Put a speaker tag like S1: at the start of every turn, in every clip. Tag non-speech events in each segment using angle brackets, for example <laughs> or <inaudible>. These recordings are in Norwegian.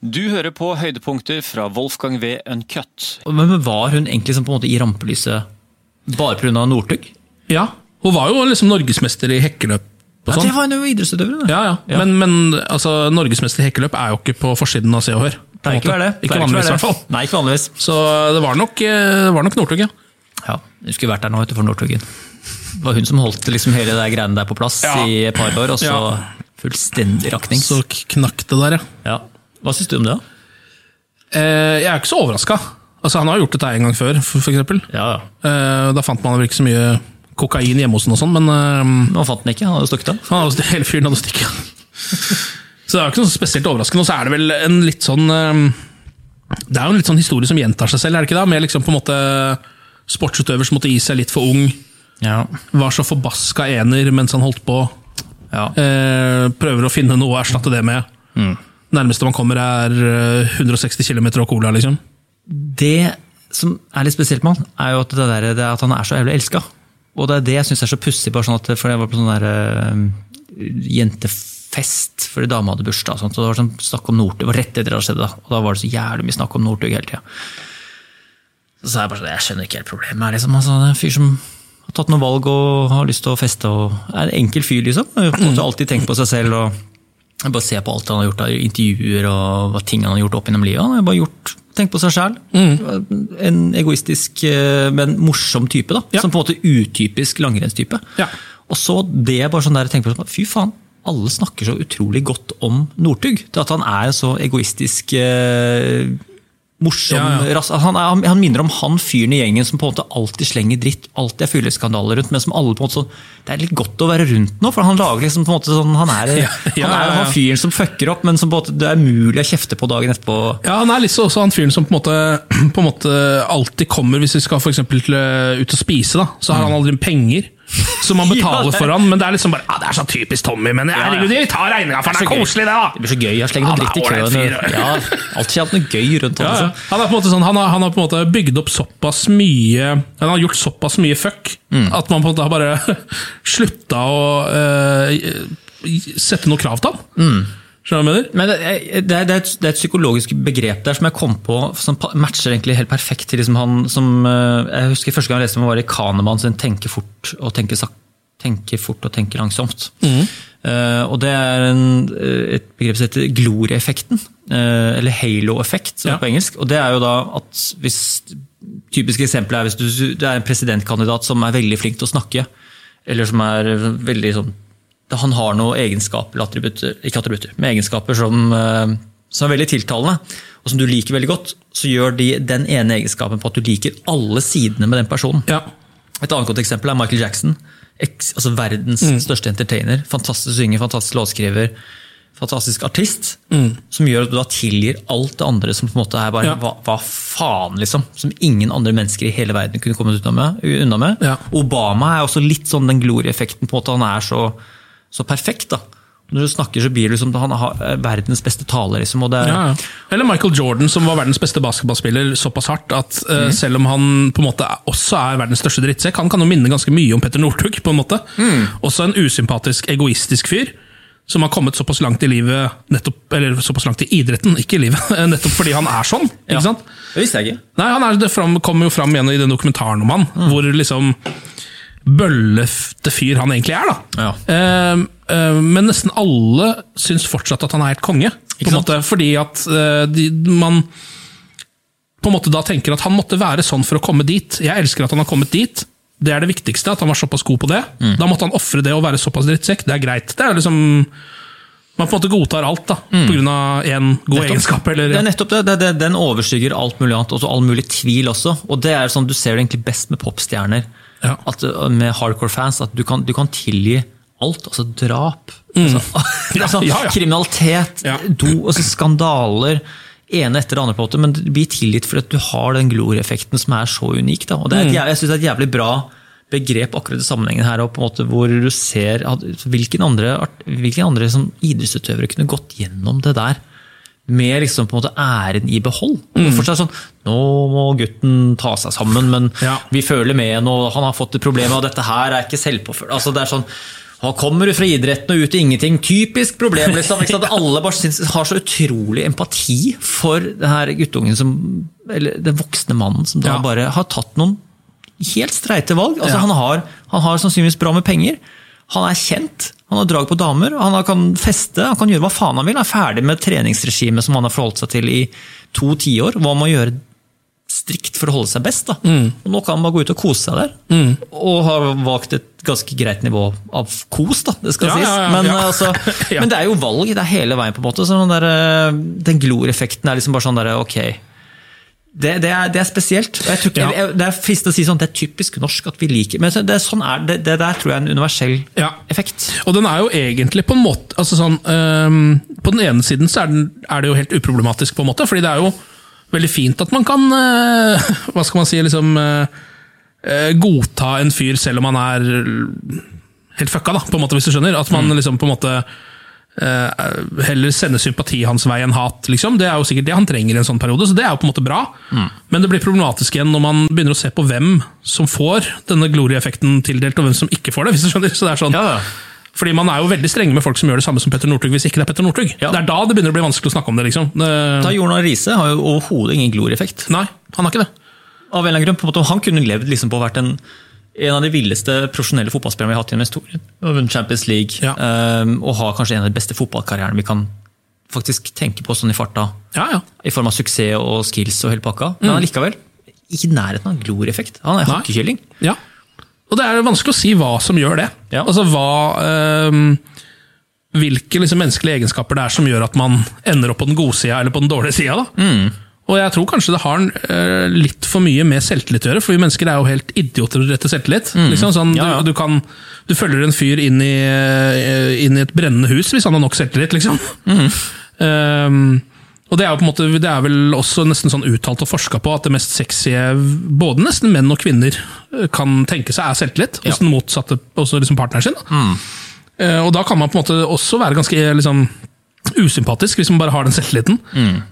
S1: Du hører på høydepunkter fra Wolfgang V. Uncut.
S2: Men var hun egentlig som på en måte i rampelyset bare pga. Northug?
S3: Ja, hun var jo liksom norgesmester i hekkeløp og
S2: Ja,
S3: sånn.
S2: det var hun jo idrettsutøver, hun.
S3: Ja, ja.
S2: Ja.
S3: Men, men altså, norgesmester i hekkeløp er jo ikke på forsiden av Se og Hør. på
S2: Pleier
S3: en
S2: ikke å
S3: måte.
S2: være det.
S3: Ikke
S2: Pleier
S3: vanligvis, i
S2: være
S3: hvert fall.
S2: det. Nei, ikke vanligvis.
S3: Så det var nok, eh, det var nok Northug, ja.
S2: Ja, Hun skulle vært der nå vet du, for Northugen. Det var hun som holdt liksom hele det greiene der på plass
S3: Ja.
S2: i et par år, og så
S3: Ja.
S2: fullstendig rakning.
S3: Så k- knakk det der, ja.
S2: Ja. Hva syns du om det? da?
S3: Eh, jeg er ikke så overraska. Altså, han har gjort dette en gang før, for, for eksempel.
S2: Ja, ja.
S3: Eh, da fant man vel ikke så mye kokain hjemme hos ham og sånn, men eh,
S2: Men han fant den ikke, han hadde stukket av.
S3: han hadde, hele fyren hadde stikket. så det er jo ikke noe spesielt overraskende. Og så er det vel en litt sånn eh, Det er jo en litt sånn historie som gjentar seg selv, er det ikke da? Med liksom på en måte sportsutøver som måtte gi seg litt for ung.
S2: Ja.
S3: Var så forbaska ener mens han holdt på.
S2: Ja.
S3: Eh, prøver å finne noe å erstatte det med. Nærmeste man kommer, er eh, 160 km og cola, liksom.
S2: Det som er litt spesielt med han, er jo at, det der, det er at han er så jævlig elska. Og det er det jeg syns er så pussig. bare sånn at, For jeg var på sånn der eh, jentefest fordi dama hadde bursdag. og sånt, og Det var sånn snakk om Northug, det var rett etter det hadde skjedd. Da og da var det så jævlig mye snakk om Northug hele tida. Så sa jeg bare sånn, jeg skjønner ikke helt problemet her. liksom. Altså, det er en fyr som har tatt noen valg og har lyst til å feste. og er En enkel fyr, liksom. På en måte alltid tenkt på seg selv. og jeg bare ser på alt han har gjort av intervjuer og hva ting han har gjort opp gjennom livet. Han har bare gjort, tenkt på seg sjæl.
S3: Mm.
S2: En egoistisk, eh, men morsom type. da,
S3: Ja.
S2: Som på en måte utypisk langrennstype.
S3: Ja.
S2: Og så det bare sånn der jeg tenker på, sånn, fy faen, alle snakker så utrolig godt om Northug. Til at han er en så egoistisk eh, morsom
S3: Ja, ja.
S2: ras- han, er, han, han minner om han fyren i gjengen som på en måte alltid slenger dritt, alltid er fylleskandaler rundt, men som alle på en måte sånn Det er litt godt å være rundt nå, for han lager liksom på en måte sånn Han er,
S3: <laughs> ja,
S2: han, er jo
S3: ja, ja.
S2: han fyren som fucker opp, men som på en måte det er mulig å kjefte på dagen etterpå.
S3: Ja, Han er litt så- også han fyren som på en måte, <clears throat> på en måte alltid kommer hvis vi skal for eksempel, til, eh, ut og spise. da, Så har han aldri penger som man betaler
S2: Mm. <laughs> Ja, det-
S3: for han. Men det er liksom bare, ja, det er så typisk Tommy, men
S2: ja.
S3: herregud, vi tar regninga, for det er
S2: så gøy.
S3: koselig, det, da!
S2: Det blir så gøy, jeg slenger
S3: Han
S2: noe
S3: er
S2: dritt i
S3: ålreit
S2: køen.
S3: fyr,
S2: Ja, alltid hatt noe gøy rundt han.
S3: Ja, ja.
S2: Liksom.
S3: Han, er på en måte sånn, han, har, han har på en måte bygd opp såpass mye Han har gjort såpass mye fuck
S2: Mm.
S3: at man på en måte har bare <laughs> slutta å eh, sette noe krav til han.
S2: Mm.
S3: Skjønner du hva jeg mener?
S2: Men det er, det, er, det er et, det er et psykologisk begrep der som jeg kom på, som pa- matcher egentlig helt perfekt til liksom han som eh, Jeg husker første gang jeg leste om han var i Kahneman sin 'Tenke fort og tenke sak, tenke fort og tenke langsomt'. Eh, og det er en, eh, et begrep som heter glorieeffekten, eh, eller halo-effekt som
S3: Ja.
S2: er på engelsk. Og det er jo da at hvis Typiske eksempler er hvis du, det er en presidentkandidat som er veldig flink til å snakke, eller som er veldig sånn han har noen egenskaper, eller attributter, ikke attributter, men egenskaper som, eh, som er veldig tiltalende, og som du liker veldig godt, så gjør de den ene egenskapen på at du liker alle sidene med den personen.
S3: Ja.
S2: Et annet godt eksempel er Michael Jackson. Eks, altså verdens
S3: Mm.
S2: største entertainer. Fantastisk synger, fantastisk låtskriver. Fantastisk artist. Som gjør at du da tilgir alt det andre som på en måte er bare
S3: Mm. Ja.
S2: hva, hva faen, liksom. Som ingen andre mennesker i hele verden kunne kommet unna med. Unna med.
S3: Ja.
S2: Obama er også litt sånn den glorieeffekten. på en måte Han er så, så perfekt. da. Når du snakker, så blir du som han har er verdens beste taler, liksom. Og det er,
S3: Ja, ja. Eller Michael Jordan, som var verdens beste basketballspiller såpass hardt at eh,
S2: Mm.
S3: selv om han på en måte er- også er verdens største drittsekk, han kan jo minne ganske mye om Petter Northug. på en måte.
S2: Mm.
S3: Også en usympatisk, egoistisk fyr. Som har kommet såpass langt i livet, nettopp, eller såpass langt i idretten, ikke i livet, <laughs> nettopp fordi han er sånn. ikke
S2: Ja.
S3: sant?
S2: Det visste jeg ikke.
S3: Nei, han er, det fram, kommer jo fram igjen i den dokumentaren om han,
S2: Mm.
S3: hvor liksom bøllete fyr han egentlig er. da.
S2: Ja.
S3: Eh, eh, men nesten alle syns fortsatt at han er helt konge. På en
S2: sant?
S3: måte, fordi at eh, de, man på en måte da tenker at han måtte være sånn for å komme dit. Jeg elsker at han har kommet dit. Det er det viktigste, at han var såpass god på det.
S2: Mm.
S3: Da måtte han ofre det og være såpass drittsekk. Det er greit. Det er liksom, Man på en måte godtar alt da, på grunn av én god egenskap. Eller,
S2: Det er nettopp det. det, det Mm. den overskygger alt mulig annet, og all mulig tvil også. Og det er sånn, Du ser det egentlig best med popstjerner,
S3: Ja.
S2: at, uh, med hardcore fans, at du kan, du kan tilgi alt. Altså drap,
S3: <laughs>
S2: altså, <laughs>
S3: Ja,
S2: altså,
S3: Mm. ja, ja.
S2: kriminalitet,
S3: Ja.
S2: do, altså, skandaler. ene etter det andre, på en måte, men det blir tilgitt fordi at du har den glorieeffekten som er så unik. Da. Og det er
S3: Mm.
S2: et, jæv- jeg synes det er et jævlig bra begrep akkurat i sammenhengen her, og på en måte hvor du ser at, hvilken andre, art- hvilken andre som idrettsutøvere kunne gått gjennom det der med liksom på en måte æren i behold.
S3: Mm.
S2: Og Fortsatt sånn, Nå må gutten ta seg sammen, men
S3: Ja.
S2: vi føler med henne, og han har fått et problem, og dette her er ikke selvpåført. Altså, det er sånn, Nå kommer du fra idretten og ut i ingenting. Typisk problem. Liksom,
S3: <laughs>
S2: ikke sant? Alle bare syns, har så utrolig empati for den her guttungen som Eller den voksne mannen som da
S3: Ja.
S2: bare har tatt noen helt streite valg. Altså,
S3: Ja.
S2: han, har, han har sannsynligvis bra med penger. Han er kjent, han har drag på damer, han har- kan feste, han kan gjøre hva faen han vil. Han er ferdig med treningsregimet som han har forholdt seg til i to tiår. Hva man må gjøre strikt for å holde seg best. Da.
S3: Mm.
S2: Og nå kan han bare gå ut og kose seg der. Og har valgt et ganske greit nivå av kos, da, det skal
S3: Ja,
S2: sies.
S3: ja, ja,
S2: men,
S3: ja.
S2: eh, Altså,
S3: Ja.
S2: men det er jo valg, det er hele veien, på en måte. Så den, der, eh, den gloreffekten er liksom bare sånn der, ok. Det, det, er, det er spesielt. og Jeg tror ikke,
S3: Ja.
S2: jeg, det er fristende å si sånn, det er typisk norsk at vi liker Men så- det, er sånn er, det, det der tror jeg er en universell
S3: Ja.
S2: effekt.
S3: Og den er jo egentlig på en måte altså sånn, øhm, På den ene siden så er, den, er det jo helt uproblematisk, på en måte, fordi det er jo veldig fint at man kan øh, <laughs> Hva skal man si liksom, øh, øh, Godta en fyr selv om han er øh, helt fucka, da, på en måte, hvis du skjønner. At man
S2: Mm.
S3: liksom på en måte øh, heller sender sympati hans vei enn hat. liksom. Det er jo sikkert det han trenger i en sånn periode, så det er jo på en måte bra.
S2: Mm.
S3: Men det blir problematisk igjen når man begynner å se på hvem som får denne glorieeffekten tildelt, og hvem som ikke får det. hvis du skjønner. Så det er sånn,
S2: Ja, ja.
S3: fordi Man er jo veldig strenge med folk som gjør det samme som Petter Northug. hvis ikke Det er Petter Northug.
S2: Ja.
S3: Det er da det begynner å bli vanskelig å snakke om det. liksom.
S2: Da
S3: Det-
S2: Jordan Riise har jo overhodet ingen gloreffekt.
S3: Nei, han har ikke det.
S2: av en eller annen grunn. på en måte, Han kunne levd liksom på å vært en, en av de villeste profesjonelle fotballspillerne vi har hatt gjennom historien. Og Vunnet Champions League.
S3: Ja.
S2: ehm, og har kanskje en av de beste fotballkarrierene vi kan faktisk tenke på sånn i farta.
S3: Ja, ja.
S2: I form av suksess og skills og hele pakka. Men allikevel, ikke i nærheten av en gloreffekt. Han er
S3: Nei.
S2: hakkekylling.
S3: ja. Og det er jo vanskelig å si hva som gjør det.
S2: Ja.
S3: Altså hva... ehm, hvilke liksom, menneskelige egenskaper det er som gjør at man ender opp på den gode sida eller på den dårlige sida.
S2: Mm.
S3: Og jeg tror kanskje det har eh, litt for mye med selvtillit å gjøre, for vi mennesker er jo helt idioter når det gjelder selvtillit. Liksom, sånn,
S2: Mm. Ja, ja.
S3: Du, du, kan, du følger en fyr inn i, eh, inn i et brennende hus hvis han har nok selvtillit, liksom.
S2: Mm.
S3: Ehm, og det er, jo på en måte, det er vel også nesten sånn uttalt og forska på at det mest sexy både nesten menn og kvinner eh, kan tenke seg, er selvtillit. Hos den motsatte, også liksom partneren sin. Da. Eh, Og da kan man på en måte også være ganske eh, liksom, usympatisk, hvis man bare har den selvtilliten.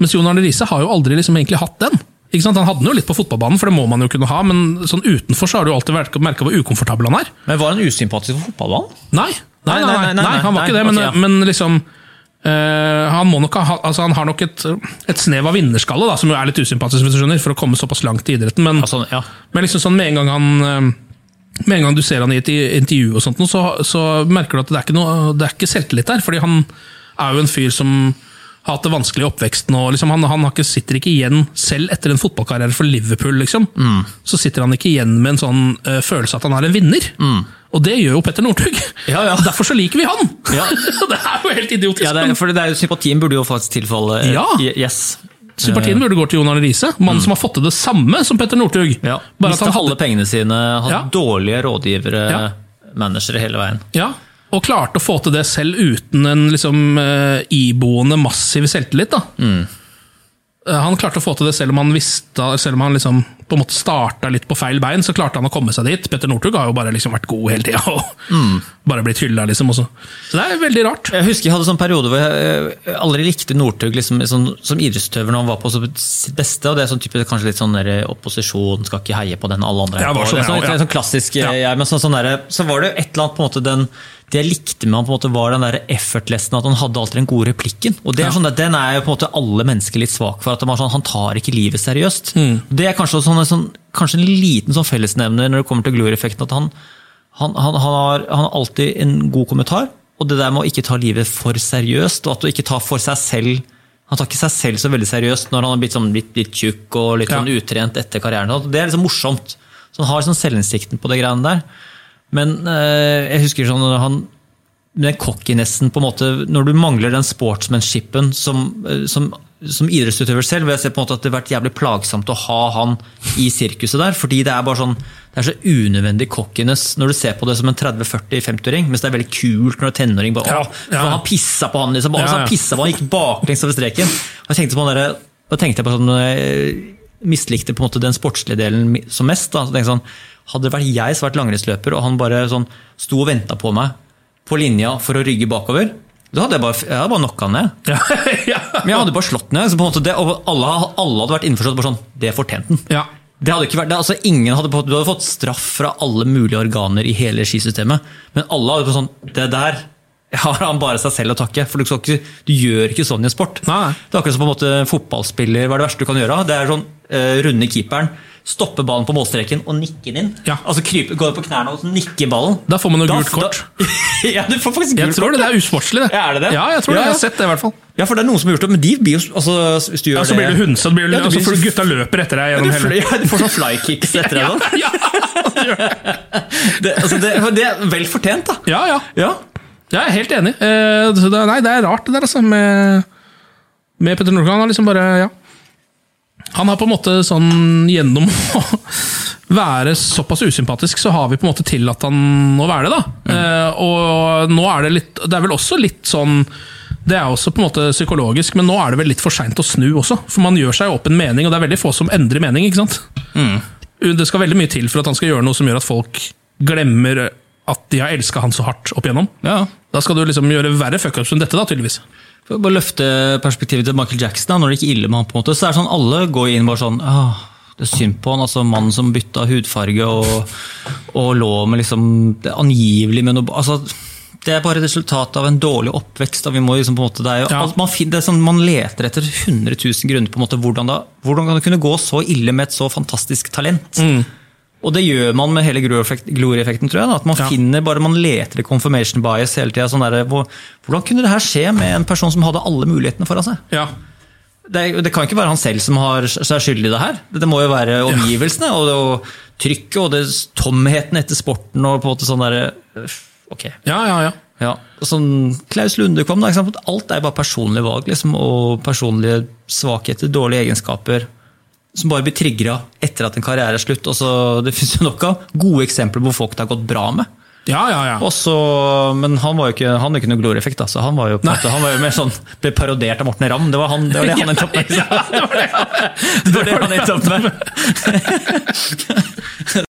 S3: Mens Jon Arne Riise har jo aldri liksom egentlig hatt den. Ikke sant? Han hadde den jo litt på fotballbanen, for det må man jo kunne ha, men sånn utenfor så har du jo alltid merka hvor ukomfortabel han er.
S2: Men var han usympatisk for fotballbanen?
S3: Nei, nei, nei, nei,
S2: nei, nei,
S3: han var
S2: nei,
S3: ikke det, men,
S2: ok, ja.
S3: men liksom eh, han, må nok ha, altså han har nok et, et snev av vinnerskalle, da, som jo er litt usympatisk, hvis du skjønner, for å komme såpass langt i idretten. Men,
S2: Altså, ja.
S3: men liksom sånn med en gang han eh, Med en gang du ser han i et i- intervju, og sånt, nå, så, så merker du at det er ikke, noe, det er ikke selvtillit der. Fordi han er jo en fyr som har hatt det vanskelig i oppveksten. og liksom Han, han har ikke, sitter ikke igjen, selv etter en fotballkarriere for Liverpool, liksom,
S2: Mm.
S3: så sitter han ikke igjen med en sånn eh, følelse at han er en vinner. Og det gjør jo Petter Northug!
S2: Mm. Ja, ja.
S3: <laughs> Derfor så liker vi han!
S2: Ja.
S3: <laughs> det er jo helt idiotisk.
S2: Ja, det er,
S3: men
S2: for det er jo, sympatien burde jo faktisk tilfalle eh,
S3: Ja.
S2: je- Yes.
S3: Sympatien burde gå til Jon Arne Riise, mannen som har fått til det samme som Petter Northug.
S2: Mm. Ja.
S3: Bare at
S2: Mista
S3: han hadde
S2: alle pengene sine, hatt
S3: Ja.
S2: dårlige rådgivere,
S3: Ja.
S2: managere hele veien.
S3: Ja, og klarte å få til det selv uten en liksom, eh, iboende massiv selvtillit. Da.
S2: Mm.
S3: Eh, Han klarte å få til det selv om han visste, selv om han liksom, på en måte starta litt på feil bein. så klarte han å komme seg dit. Petter Northug har jo bare liksom vært god hele tida. Og
S2: Mm.
S3: <laughs> bare blitt hylla, liksom. Også. Så det er veldig rart.
S2: Jeg husker jeg hadde sånn periode hvor jeg eh, aldri likte Northug liksom, sånn, som idrettsutøver når han var på sitt beste. og Det er sånn type, kanskje litt sånn der, eh, opposisjon, skal ikke heie på den alle andre
S3: Jeg
S2: heier
S3: var
S2: på. det
S3: sånn,
S2: er sånn,
S3: jeg også,
S2: det er sånn klassisk eh,
S3: Ja.
S2: jeg, men sånn, sånn der, Så var det jo et eller annet på en måte den, Det jeg likte med han på en måte var den der effortlessen, at han hadde alltid den gode replikken. og det
S3: Ja.
S2: er sånn der, Den er jo på en måte alle mennesker litt svak for. at han var sånn, Han tar ikke livet seriøst.
S3: Mm.
S2: Det er kanskje, også sånn, en sånn, kanskje en liten sånn fellesnevner når det kommer til gloreffekten. at han han, han, han, har, han har alltid en god kommentar, og det der med å ikke ta livet for seriøst, og at å ikke ta for seg selv Han tar ikke seg selv så veldig seriøst når han har blitt sånn litt, litt tjukk og litt
S3: Ja.
S2: sånn utrent etter karrieren. og Det er liksom morsomt. Så han har sånn selvinnsikten på det greiene der. Men eh, jeg husker sånn når han den cockinessen på en måte, Når du mangler den sportsmanshipen som, eh, som, som idrettsutøver selv, vil jeg se på en måte at det har vært jævlig plagsomt å ha han i sirkuset der. fordi det er bare sånn, det er så unødvendig cockiness når du ser på det som en 30-40-50-åring, mens det er veldig kult når du er tenåring. bare,
S3: Ja,
S2: «Åh,
S3: ja.
S2: for Han pissa på han, liksom. og
S3: Ja,
S2: så
S3: ja.
S2: han pissa på han, gikk baklengs over streken. Og jeg tenkte på han der, da tenkte jeg på sånn, eh, mislikte på en måte den sportslige delen mi- som mest. Da. Så tenkte jeg sånn, hadde det vært jeg som vært langrennsløper, og han bare sånn, sto og venta på meg på linja for å rygge bakover, da hadde jeg bare, jeg hadde bare knocka han ned.
S3: Ja, <laughs> ja.
S2: Men jeg hadde bare slått ned. Så på en måte det, og alle, alle hadde vært innforstått bare sånn, det fortjente han.
S3: Ja.
S2: Det hadde ikke vært, det, altså ingen hadde, på- du hadde fått straff fra alle mulige organer i hele skisystemet. Men alle hadde fått sånn Det der har han bare seg selv å takke. For du, skal ikke, du gjør ikke sånn i en sport.
S3: Nei.
S2: Det er akkurat som på en måte fotballspiller. Hva er det verste du kan gjøre? Det er sånn eh, runde keeperen, stoppe ballen på målstreken og nikke den inn.
S3: Ja.
S2: Altså krype, gå på knærne og så nikke ballen.
S3: Da får man jo
S2: Da-
S3: gult kort.
S2: da- <laughs> ja, du får faktisk
S3: Jeg
S2: gult
S3: tror
S2: kort.
S3: det, det er usportslig, det.
S2: Ja, er det det?
S3: Ja, jeg tror
S2: Ja,
S3: det. Jeg
S2: ja.
S3: har sett det, i hvert fall.
S2: Ja, for det er noen som har gjort det, men de blir jo altså, Hvis du gjør
S3: Ja, så blir du hundsa, blir du,
S2: Ja, du
S3: altså,
S2: blir-
S3: for gutta løper etter deg
S2: Du,
S3: gjennom
S2: fly, <laughs>
S3: hele
S2: ja, du får sånn flykicks etter deg. da.
S3: <laughs> Ja,
S2: Det, altså, det, for det er vel fortjent, da.
S3: ja, ja.
S2: Ja.
S3: Ja, jeg er helt enig. Eh, så det, nei, det er rart det der, altså. Med, med Petter Northug. Han har liksom bare Ja. Han har på en måte sånn Gjennom å <laughs> være såpass usympatisk, så har vi på en måte tillatt han å være det, da. Eh, og nå er det litt Det er vel også litt sånn det er også på en måte psykologisk, men nå er det vel litt for seint å snu også. For man gjør seg opp en mening, og det er veldig få som endrer mening. ikke sant? Det skal veldig mye til for at han skal gjøre noe som gjør at folk glemmer at de har elska han så hardt opp igjennom.
S2: ja.
S3: Da skal du liksom gjøre verre fuckups enn dette, da, tydeligvis.
S2: For å bare løfte perspektivet til Michael Jackson, da, når det gikk ille med han på en måte, så er det sånn alle går inn bare sånn Åh, det er synd på han, altså mannen som bytta hudfarge og, og lå med liksom det er angivelig med noe altså, Det er bare resultatet av en dårlig oppvekst. Da. Vi må liksom på en måte, det er jo,
S3: Ja.
S2: alt man, fin- det er sånn, man leter etter 100 000 grunner på en måte, hvordan, da, hvordan kan det kunne gå så ille med et så fantastisk talent? Og det gjør man med hele glory-effekt- glory-effekten, tror jeg. Da. At man
S3: Ja.
S2: finner bare, man leter i confirmation bias hele tida. Sånn derre, hvor- hvordan kunne det her skje med en person som hadde alle mulighetene foran seg?
S3: Ja.
S2: Det, er- det kan jo ikke være han selv som har seg skyldig i det her. Det må jo være omgivelsene og, det, og trykket og det, tomheten etter sporten og på en måte sånn derre øff, Ok.
S3: Ja, ja, ja.
S2: Ja. Og Sånn Klaus Lunde kom, da. Ikke sant? Alt er bare personlige valg liksom, og personlige svakheter, dårlige egenskaper. Som bare blir trigga etter at en karriere er slutt. Og så, det fins jo nok av gode eksempler hvor folk det har gått bra med.
S3: ja, ja, ja.
S2: Og så- men han var jo ikke, han er ikke noe gloryeffekt, da, så han var jo på en måte, han var jo mer sånn, ble parodiert av Morten Ramm. Det var, han, det, var det han endte opp <laughs> med. Det var det han endte opp med.